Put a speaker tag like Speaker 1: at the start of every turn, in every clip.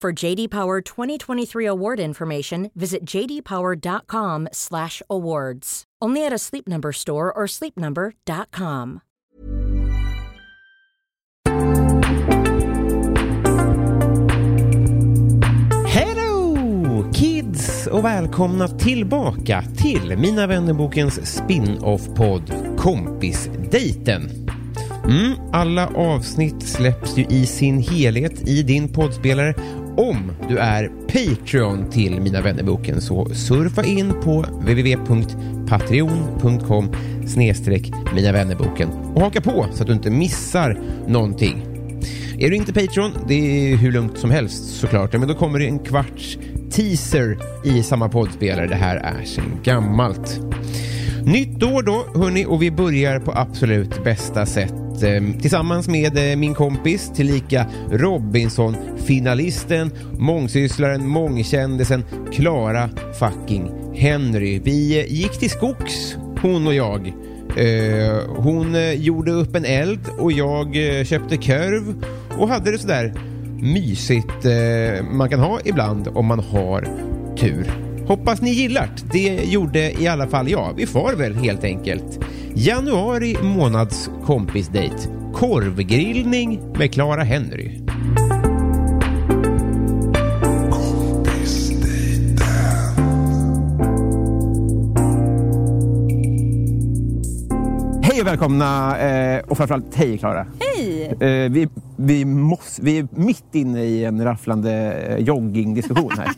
Speaker 1: For JD Power 2023 award information, visit jdpower.com/awards. Only at a Sleep Number store or sleepnumber.com.
Speaker 2: Hello kids och välkomna tillbaka till Mina vännerbokens spin-off-podd Kompisdejten. Mm, alla avsnitt släpps ju i sin helhet i din poddspelare om du är Patreon till Mina vännerboken så surfa in på www.patreon.com snedstreck Mina vännerboken och haka på så att du inte missar någonting. Är du inte Patreon, det är hur lugnt som helst såklart, men då kommer det en kvarts teaser i samma poddspelare. Det här är sen gammalt. Nytt år då, hörni, och vi börjar på absolut bästa sätt. eh, Tillsammans med eh, min kompis, tillika Robinson, finalisten, mångsysslaren, mångkändisen, Clara fucking Henry. Vi eh, gick till skogs, hon och jag. Eh, Hon eh, gjorde upp en eld och jag eh, köpte korv och hade det sådär mysigt eh, man kan ha ibland om man har tur. Hoppas ni gillat. Det gjorde i alla fall jag. Vi far väl helt enkelt. Januari månads kompisdejt. Korvgrillning med Clara Henry.
Speaker 3: Hej och välkomna eh, och framförallt hej Klara.
Speaker 4: Hej!
Speaker 3: Eh, vi, vi, måste, vi är mitt inne i en rafflande eh, joggingdiskussion här.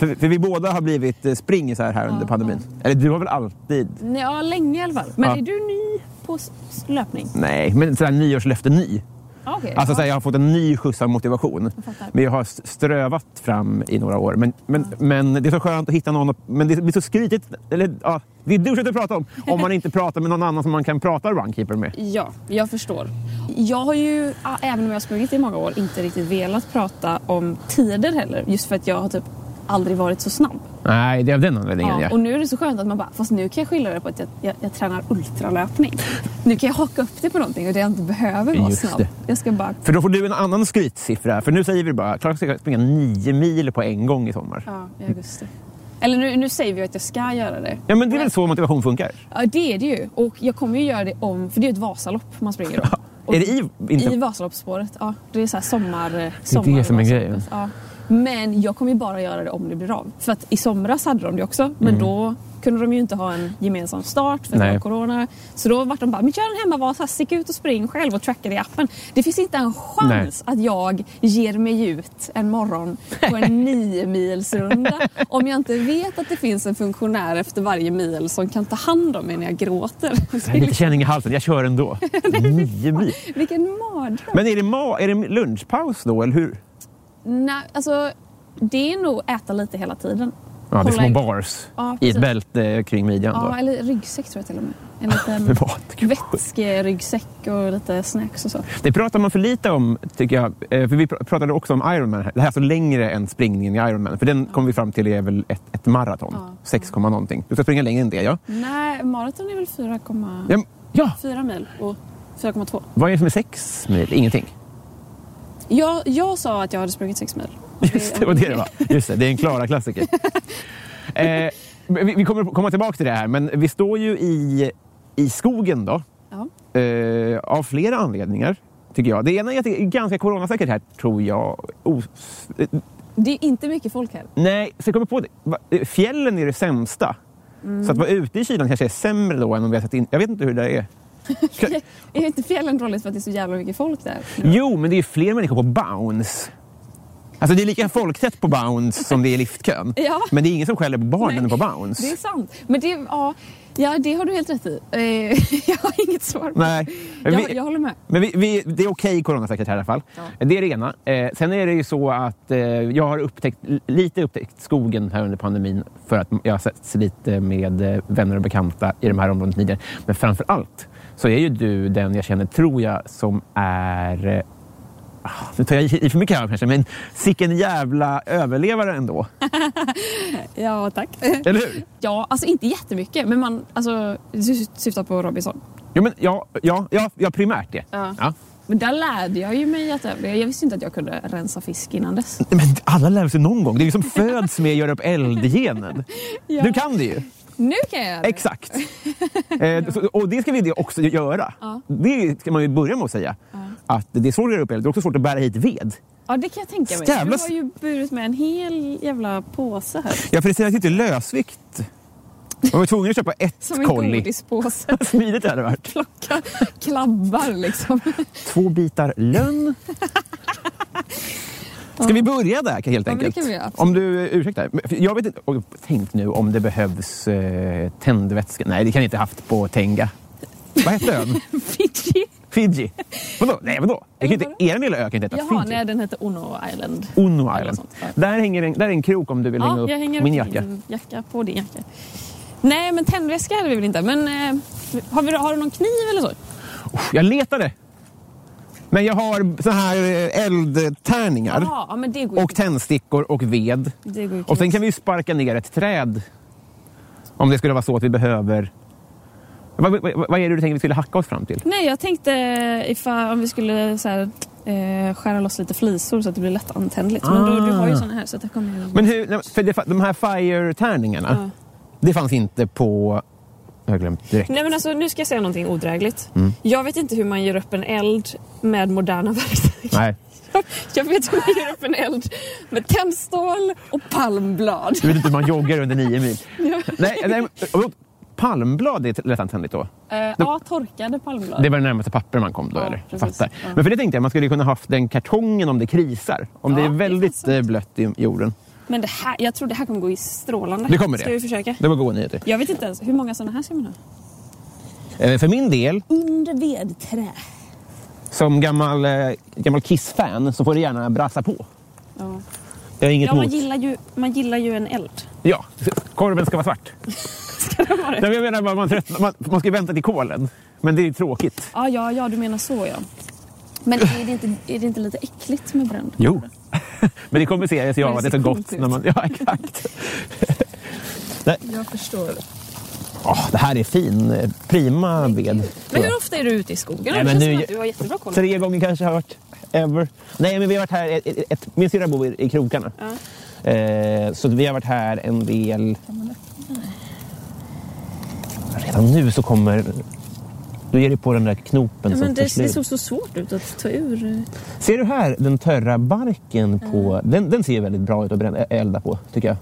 Speaker 3: för, för vi båda har blivit eh, springisar här under pandemin. Eller du har väl alltid?
Speaker 4: Nej, Ja, länge i alla fall. Men
Speaker 3: Ja.
Speaker 4: är du ny på s- s- löpning?
Speaker 3: Nej, men sådär nyårslöfte ny.
Speaker 4: Ah, okej.
Speaker 3: Alltså
Speaker 4: Ja.
Speaker 3: såhär, jag har fått en ny skjuts av motivation.
Speaker 4: fattar.
Speaker 3: Men jag har s- strövat fram i några år. Men, men, men det är så skönt att hitta någon. att- Men det blir så skrytigt. Eller, ja, det är du som pratar om. Om man inte pratar med någon annan som man kan prata runkeeper med.
Speaker 4: ja, jag förstår. Jag har ju, ah, även om jag har sprungit i många år, inte riktigt velat prata om tider heller. Just för att jag har typ aldrig varit så snabb.
Speaker 3: Nej, det är av den anledningen ja.
Speaker 4: Ja, och nu är det så skönt att man bara, fast nu kan jag skylla det på att jag, jag, jag tränar ultralöpning. Nu kan jag haka upp det på någonting och det jag inte behöver vara
Speaker 3: Just
Speaker 4: snabb.
Speaker 3: det.
Speaker 4: Jag ska bara...
Speaker 3: För då får du en annan skrytsiffra. För nu säger vi bara Klara ska springa nio mil på en gång i sommar. Ja,
Speaker 4: Ja, i augusti. Eller nu, nu säger vi att jag ska göra det.
Speaker 3: men det är väl så motivation funkar?
Speaker 4: Ja, det är det ju. Och jag kommer ju göra det om, för det är ju ett Vasalopp man springer då. Och
Speaker 3: Är det i- inte-
Speaker 4: I Vasaloppsspåret, ja. Det är så här sommar... Det
Speaker 3: det som är grejen.
Speaker 4: Ja. Men jag kommer ju bara göra det om det blir av. För att i somras hade de det också, men då kunde de ju inte ha en gemensam start för att det
Speaker 3: Mm. Nej.
Speaker 4: var corona. Så då var de bara, men kör en hemmavasa, stick ut och spring själv och tracka det i appen. Det finns inte en chans att jag ger mig ut en morgon på en niomilsrunda om jag inte vet att det finns en funktionär efter varje mil som kan ta hand om mig när jag gråter.
Speaker 3: Jag har lite känning i halsen, jag kör ändå. nio mil.
Speaker 4: Vilken mardröm!
Speaker 3: Men är det, ma- är det lunchpaus då, eller hur?
Speaker 4: Nej, alltså det är nog äta lite hela tiden.
Speaker 3: Ja, det är
Speaker 4: Hålla
Speaker 3: små
Speaker 4: i-
Speaker 3: bars
Speaker 4: Ja,
Speaker 3: i ett
Speaker 4: precis.
Speaker 3: bälte kring midjan.
Speaker 4: Ja,
Speaker 3: Då.
Speaker 4: eller ryggsäck tror jag till och med. En
Speaker 3: Med
Speaker 4: liten
Speaker 3: mat.
Speaker 4: vätskeryggsäck och lite snacks och så.
Speaker 3: Det pratar man för lite om, tycker jag. Eh, För vi pr- pratade också om Ironman. här. Det här är alltså längre än springningen i Ironman. För den kom vi fram till är väl ett, ett maraton.
Speaker 4: Ja.
Speaker 3: 6, komma någonting. Du ska springa längre än det, ja?
Speaker 4: Nej, maraton är väl 4,4
Speaker 3: Ja, ja.
Speaker 4: mil och 4,2.
Speaker 3: Vad är det som är sex mil? Ingenting.
Speaker 4: Jag, jag sa att jag hade sprungit 6 mil.
Speaker 3: Just det, var det det var. Just det, det är en Klara-klassiker. eh, men vi, vi kommer komma tillbaka till det här, men vi står ju i, i skogen då.
Speaker 4: Ja.
Speaker 3: Eh, av flera anledningar, tycker jag. Det ena är att det är ganska coronasäkert här, tror jag. Os- Oh, eh,
Speaker 4: Det är inte mycket folk här.
Speaker 3: Nej, så jag kommer på det. Va- eh, Fjällen är det sämsta. Så att vara ute i kylan kanske är sämre då än om vi har satt in... Jag vet inte hur det där är. Ska-
Speaker 4: Är inte fjällen dåligt för att det är så jävla mycket folk där?
Speaker 3: Jo, men det är ju fler människor på Bounce. Alltså det är lika folktätt på Bounce som det är i liftkön.
Speaker 4: Ja.
Speaker 3: Men det är ingen som skäller på barnen
Speaker 4: Nej,
Speaker 3: på
Speaker 4: Det är
Speaker 3: Bounce.
Speaker 4: sant. Men det, ja, ja, det har du helt rätt i. Eh, jag har inget svar. på
Speaker 3: Nej.
Speaker 4: det. Jag,
Speaker 3: Vi-
Speaker 4: jag håller med.
Speaker 3: Men vi, vi, det är okej coronasäkert här i alla fall.
Speaker 4: Ja.
Speaker 3: Det är det ena. Eh, sen är det ju så att eh, jag har upptäckt, lite upptäckt skogen här under pandemin för att jag har setts lite med eh, vänner och bekanta i de här områdena tidigare. Men framför allt så är ju du den jag känner, tror jag, som är eh, ah, nu tar jag i i för mycket här kanske, men sicken jävla överlevare ändå.
Speaker 4: Ja, tack.
Speaker 3: Eller hur?
Speaker 4: ja, alltså inte jättemycket, men man... Alltså, du sy- syftar på Robinson.
Speaker 3: Jo, men ja, ja, ja, ja primärt det.
Speaker 4: Ja. Men där lärde jag ju mig att överleva. Jag visste inte att jag kunde rensa fisk innan dess.
Speaker 3: Nej, Men alla lär sig någon gång. Det är ju som föds med att göra upp eldgenen.
Speaker 4: Ja.
Speaker 3: Du kan det ju.
Speaker 4: Nu kan jag det.
Speaker 3: Exakt. eh, så, och det ska vi det också göra.
Speaker 4: Ja.
Speaker 3: Det ska man ju börja med att säga. Att det är svårt att göra upp eld. Det är också svårt att bära hit ved.
Speaker 4: Ja, det kan jag tänka mig.
Speaker 3: Jävla-
Speaker 4: Du har ju burit med en hel jävla påse här.
Speaker 3: Ja, för det säger inte lösvikt. Man var tvungen att köpa ett
Speaker 4: Som en
Speaker 3: kolli.
Speaker 4: godispåse.
Speaker 3: Smidigt hade det varit.
Speaker 4: Plocka klabbar liksom.
Speaker 3: Två bitar lönn. Ska vi börja där helt
Speaker 4: men det
Speaker 3: enkelt?
Speaker 4: kan vi göra, absolut.
Speaker 3: om du eh, ursäktar. Men för Jag vet inte, och tänk nu om det behövs eh, tändvätska. Nej, det kan jag inte haft på Tenga. Vad hette ön?
Speaker 4: Fiji.
Speaker 3: Fiji. Vadå? Nej, vadå? Det kan ju
Speaker 4: Vadå?
Speaker 3: inte, er lilla ö kan inte heta
Speaker 4: Jaha,
Speaker 3: Fiji.
Speaker 4: nej den heter Ono Island.
Speaker 3: Ono
Speaker 4: Eller
Speaker 3: Island.
Speaker 4: sånt, ja.
Speaker 3: Där, hänger en, där är en krok om du vill hänga
Speaker 4: Ja,
Speaker 3: upp
Speaker 4: jag hänger
Speaker 3: min
Speaker 4: upp
Speaker 3: jacka.
Speaker 4: Din jacka på din jacka. Nej, men tändväska hade vi väl inte. Men eh, har, vi, har du någon kniv eller så?
Speaker 3: Jag letade. Men jag har så här eh, eldtärningar
Speaker 4: Jaha, ja, men det går ju
Speaker 3: och tändstickor och ved.
Speaker 4: Det går ju
Speaker 3: Och sen kan vi ju sparka ner ett träd. Om det skulle vara så att vi behöver... Vad, vad, vad är det du tänker vi skulle hacka oss fram till?
Speaker 4: Nej, jag tänkte ifall, om vi skulle så här, eh, skära loss lite flisor så att det blir lättantändligt. Men då, du har ju
Speaker 3: Ah.
Speaker 4: såna här så att det kommer ju...
Speaker 3: Men hur, nej, för det, fa- de här fire-tärningarna,
Speaker 4: Ja.
Speaker 3: det fanns inte på... Jag har glömt direkt.
Speaker 4: Nej men alltså nu ska jag säga någonting odrägligt.
Speaker 3: Mm.
Speaker 4: Jag vet inte hur man gör upp en eld med moderna verktyg.
Speaker 3: Nej.
Speaker 4: Jag vet hur man gör upp en eld med tändstål och palmblad.
Speaker 3: Du vet inte hur man joggar under nio mil. nej, nej, men- palmblad är lättantändligt då?
Speaker 4: Eh, ja, torkade palmblad.
Speaker 3: Det var det närmaste papper man kom då,
Speaker 4: Ja,
Speaker 3: eller?
Speaker 4: precis.
Speaker 3: Fattar.
Speaker 4: Ja.
Speaker 3: Men för det tänkte jag, man skulle ju kunna haft den kartongen om det krisar. Om det
Speaker 4: Ja,
Speaker 3: är
Speaker 4: det är
Speaker 3: väldigt
Speaker 4: sant.
Speaker 3: eh, blött i jorden.
Speaker 4: Men det här, jag tror det här kommer gå i strålande.
Speaker 3: Det kommer det.
Speaker 4: Ska vi försöka?
Speaker 3: Det var goda nyheter.
Speaker 4: Jag vet inte ens, hur många sådana här ska man ha?
Speaker 3: Eh, För min del,
Speaker 4: Under vedträ.
Speaker 3: som gammal, eh, gammal Kiss-fan, så får det gärna brassa på.
Speaker 4: Ja,
Speaker 3: Jag har inget
Speaker 4: ja man,
Speaker 3: emot.
Speaker 4: gillar ju, man gillar ju en eld.
Speaker 3: Ja, korven ska vara svart.
Speaker 4: Ska det vara
Speaker 3: Nej,
Speaker 4: det?
Speaker 3: men Jag menar, bara, man, trött, man, man ska ju vänta till kolen. Men det är ju tråkigt.
Speaker 4: Ja, ja, ja, du menar så ja. Men är det inte, är det inte lite äckligt med bränd?
Speaker 3: Jo. men det kompenserar sig av
Speaker 4: Men
Speaker 3: att
Speaker 4: det
Speaker 3: det är så
Speaker 4: ser
Speaker 3: gott.
Speaker 4: coolt ut.
Speaker 3: När man, ja, exakt.
Speaker 4: Jag förstår.
Speaker 3: Åh, det här är fin. eh, Prima ved.
Speaker 4: Men hur ofta är du ute i skogen?
Speaker 3: Nej,
Speaker 4: det
Speaker 3: men
Speaker 4: känns
Speaker 3: nu-
Speaker 4: som att du har jättebra koll.
Speaker 3: Tre gånger kanske har jag varit. Ever. Nej, men vi har varit här. Ett, ett, ett, min syrra bor i, i krokarna. Eh, så vi har varit här en del. Redan nu så kommer... Du ger dig på den där knopen. som
Speaker 4: Men det,
Speaker 3: förslut.
Speaker 4: det såg så svårt ut att ta ur. eh.
Speaker 3: Ser du här den törra barken på... Den, den ser ju väldigt bra ut att bränna, eh, elda på, tycker jag.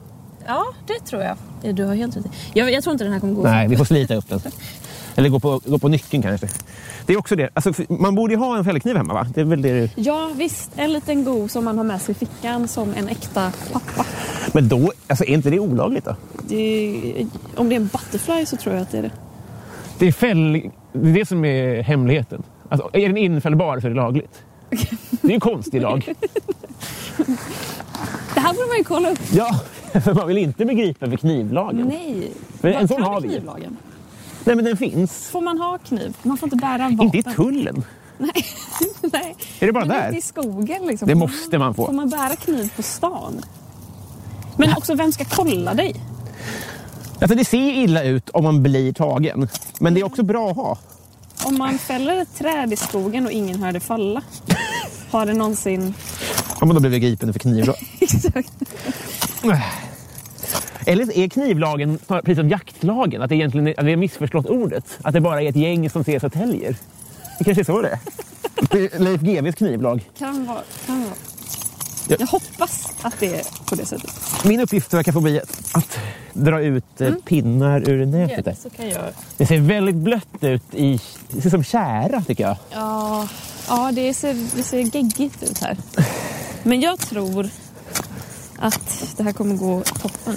Speaker 4: Ja, det tror jag. Ja, Du har helt rätt i. jag, jag tror inte den här kommer gå.
Speaker 3: Nej, vi får slita upp den. Eller gå på, gå på nyckeln kanske. Det är också det. Alltså, för- man borde ju ha en fällkniv hemma, va? Det är väl det du...
Speaker 4: Ja, visst. En liten go som man har med sig i fickan som en äkta pappa.
Speaker 3: Men då, alltså, är inte det olagligt då?
Speaker 4: Det är, om det är en butterfly så tror jag att det är det.
Speaker 3: Det är, fäll... det är det som är hemligheten. Alltså, är den infällbar så är det lagligt. Det är ju en konstig lag.
Speaker 4: Det här borde man ju kolla upp.
Speaker 3: Ja, för man vill inte begripa för knivlagen. Nej,
Speaker 4: Nej.
Speaker 3: Men
Speaker 4: Vad
Speaker 3: en sån
Speaker 4: kan
Speaker 3: har vi ju.
Speaker 4: knivlagen?
Speaker 3: men den finns.
Speaker 4: Får man ha kniv? Man får inte bära vapen.
Speaker 3: Inte i tullen.
Speaker 4: Nej. Nej.
Speaker 3: Är det bara
Speaker 4: Men
Speaker 3: där?
Speaker 4: ute i skogen liksom.
Speaker 3: Det måste man
Speaker 4: Får
Speaker 3: få.
Speaker 4: man bära kniv på stan? Men också, vem ska kolla dig?
Speaker 3: Alltså, det ser illa ut om man blir tagen. Men det är också bra att ha.
Speaker 4: Om man fäller ett träd i skogen och ingen hör det falla. Har det någonsin...
Speaker 3: Om man då blivit gripen för knivlag.
Speaker 4: Exakt.
Speaker 3: Eller är knivlagen snarare precis som jaktlagen? Att det egentligen är, att vi har missförstått ordet? Att det bara är ett gäng som ses och täljer? Det kanske är så det är. Det är Leif GWs knivlag.
Speaker 4: Kan vara. Kan vara. Jag hoppas att det är på det sättet.
Speaker 3: Min uppgift verkar få bli att dra ut eh, pinnar ur nätet. där.
Speaker 4: Så kan jag...
Speaker 3: Det ser väldigt blött ut. I, det ser som kära tycker jag.
Speaker 4: Ja, ja det, ser, det ser geggigt ut här. Men jag tror att det här kommer gå toppen.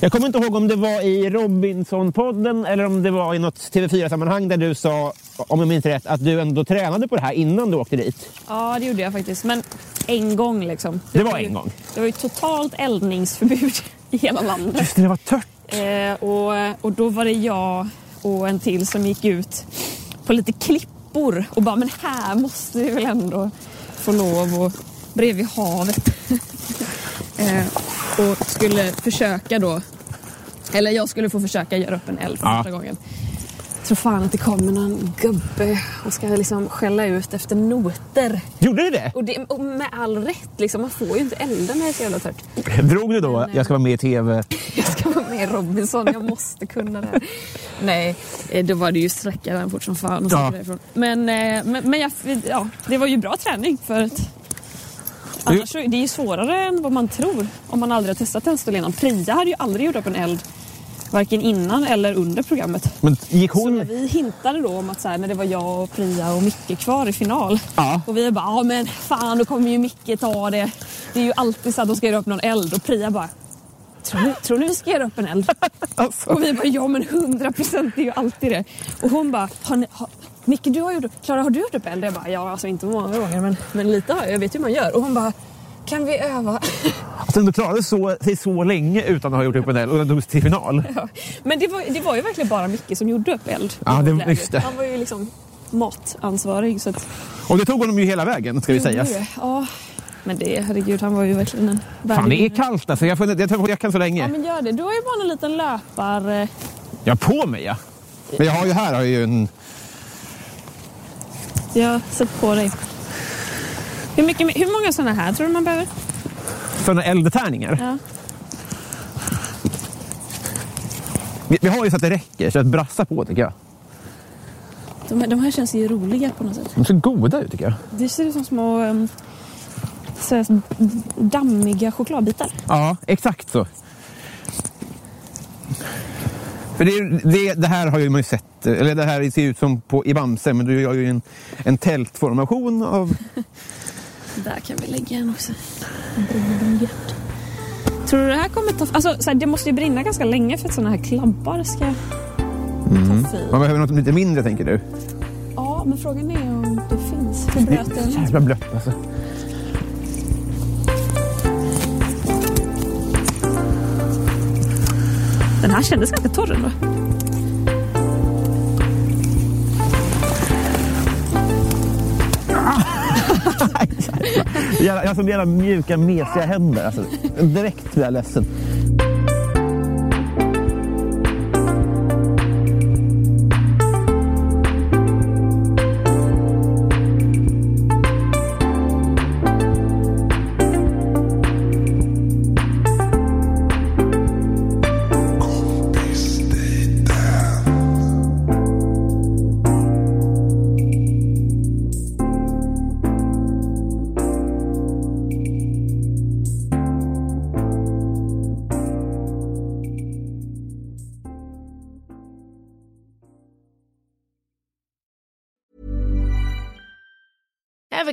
Speaker 3: Jag kommer inte ihåg om det var i Robinson-podden eller om det var i något TV4-sammanhang där du sa, om jag minns rätt, att du ändå tränade på det här innan du åkte dit.
Speaker 4: Ja, det gjorde jag faktiskt. Men en gång liksom.
Speaker 3: Det var
Speaker 4: ju-
Speaker 3: en gång.
Speaker 4: Det var ju totalt eldningsförbud i hela landet.
Speaker 3: Just det, det var tört.
Speaker 4: Eh, och, och då var det jag och en till som gick ut på lite klippor och bara men här måste vi väl ändå få lov och bredvid havet. eh, och skulle försöka då, eller jag skulle få försöka göra upp en eld för
Speaker 3: Ja.
Speaker 4: första gången. Tror fan att det kommer någon gubbe och ska liksom skälla ut efter noter.
Speaker 3: Gjorde du det?
Speaker 4: Och, det, och med all rätt, liksom, man får ju inte elda när det är så jävla tört.
Speaker 3: Drog du då jag ska vara med i TV?
Speaker 4: Jag ska vara med i Robinson, jag måste kunna det här. Nej, eh, då var det ju sträcka den fort som fan och
Speaker 3: Ja.
Speaker 4: ja. därifrån. Men, eh, men, men jag, ja, det var ju bra träning för att annars så, det är ju svårare än vad man tror om man aldrig har testat tändstål innan. Priya hade ju aldrig gjort upp en eld varken innan eller under programmet.
Speaker 3: Men gick
Speaker 4: Så när
Speaker 3: hon...
Speaker 4: vi hintade då om att så här, när det var jag och Priya och Micke kvar i final.
Speaker 3: Ja.
Speaker 4: Och vi bara, ja men fan då kommer ju Micke ta det. Det är ju alltid så att de ska göra upp någon eld och Priya bara, tror ni, tror ni vi ska göra upp en eld?
Speaker 3: Alltså,
Speaker 4: Och vi bara, ja men 100 procent, det är ju alltid det. Och hon bara, har ni, har, Micke du har gjort upp, Klara har du gjort upp eld? Jag bara, ja alltså inte många gånger men, men lite har jag, jag vet hur man gör. Och hon bara, kan vi öva?
Speaker 3: att du klarade så, sig så länge utan att ha gjort upp en del och den togs till final.
Speaker 4: Men det var, det var ju verkligen bara Micke som gjorde upp eld.
Speaker 3: Ja,
Speaker 4: I
Speaker 3: det-
Speaker 4: vårt läger.
Speaker 3: just det.
Speaker 4: Han var ju liksom matansvarig så att
Speaker 3: Och det tog honom ju hela vägen ska vi säga.
Speaker 4: Ja, men det, herregud, han var ju verkligen en
Speaker 3: Fan, det är
Speaker 4: värdevinnare.
Speaker 3: kallt alltså. Jag får jag tar på jackan så
Speaker 4: Ja,
Speaker 3: länge.
Speaker 4: men gör det. Du har ju bara en liten löpar... eh,
Speaker 3: Jag har på mig ja. Men jag har ju här har jag ju en...
Speaker 4: Jag sätter på dig. Hur, mycket, hur många sådana här tror du man behöver?
Speaker 3: Sådana eldtärningar.
Speaker 4: Ja.
Speaker 3: Vi, vi har ju så att det räcker, så att brassa på tycker jag.
Speaker 4: De, här- de här känns ju roliga på något sätt.
Speaker 3: De ser goda ut tycker jag.
Speaker 4: Det ser ut som små ehm, så här, dammiga chokladbitar.
Speaker 3: Ja, exakt så. För det, är ju- det, det här har ju man ju sett, eller det här ser ut som på, i Bamse, men du gör ju en, en tältformation av...
Speaker 4: Där kan vi lägga en också. Tror du det här kommer ta... Alltså, så här, det måste ju brinna ganska länge för att sådana här klabbar ska ta fyr.
Speaker 3: Man behöver något lite mindre tänker du.
Speaker 4: Ja, men frågan är om det finns. Hur
Speaker 3: Det
Speaker 4: bröt
Speaker 3: är
Speaker 4: den?
Speaker 3: jävla blött alltså.
Speaker 4: Den här kändes ganska torr ändå.
Speaker 3: Jävla, jag har så jävla mjuka, mesiga händer. Alltså. Direkt blir jag ledsen.
Speaker 5: Ever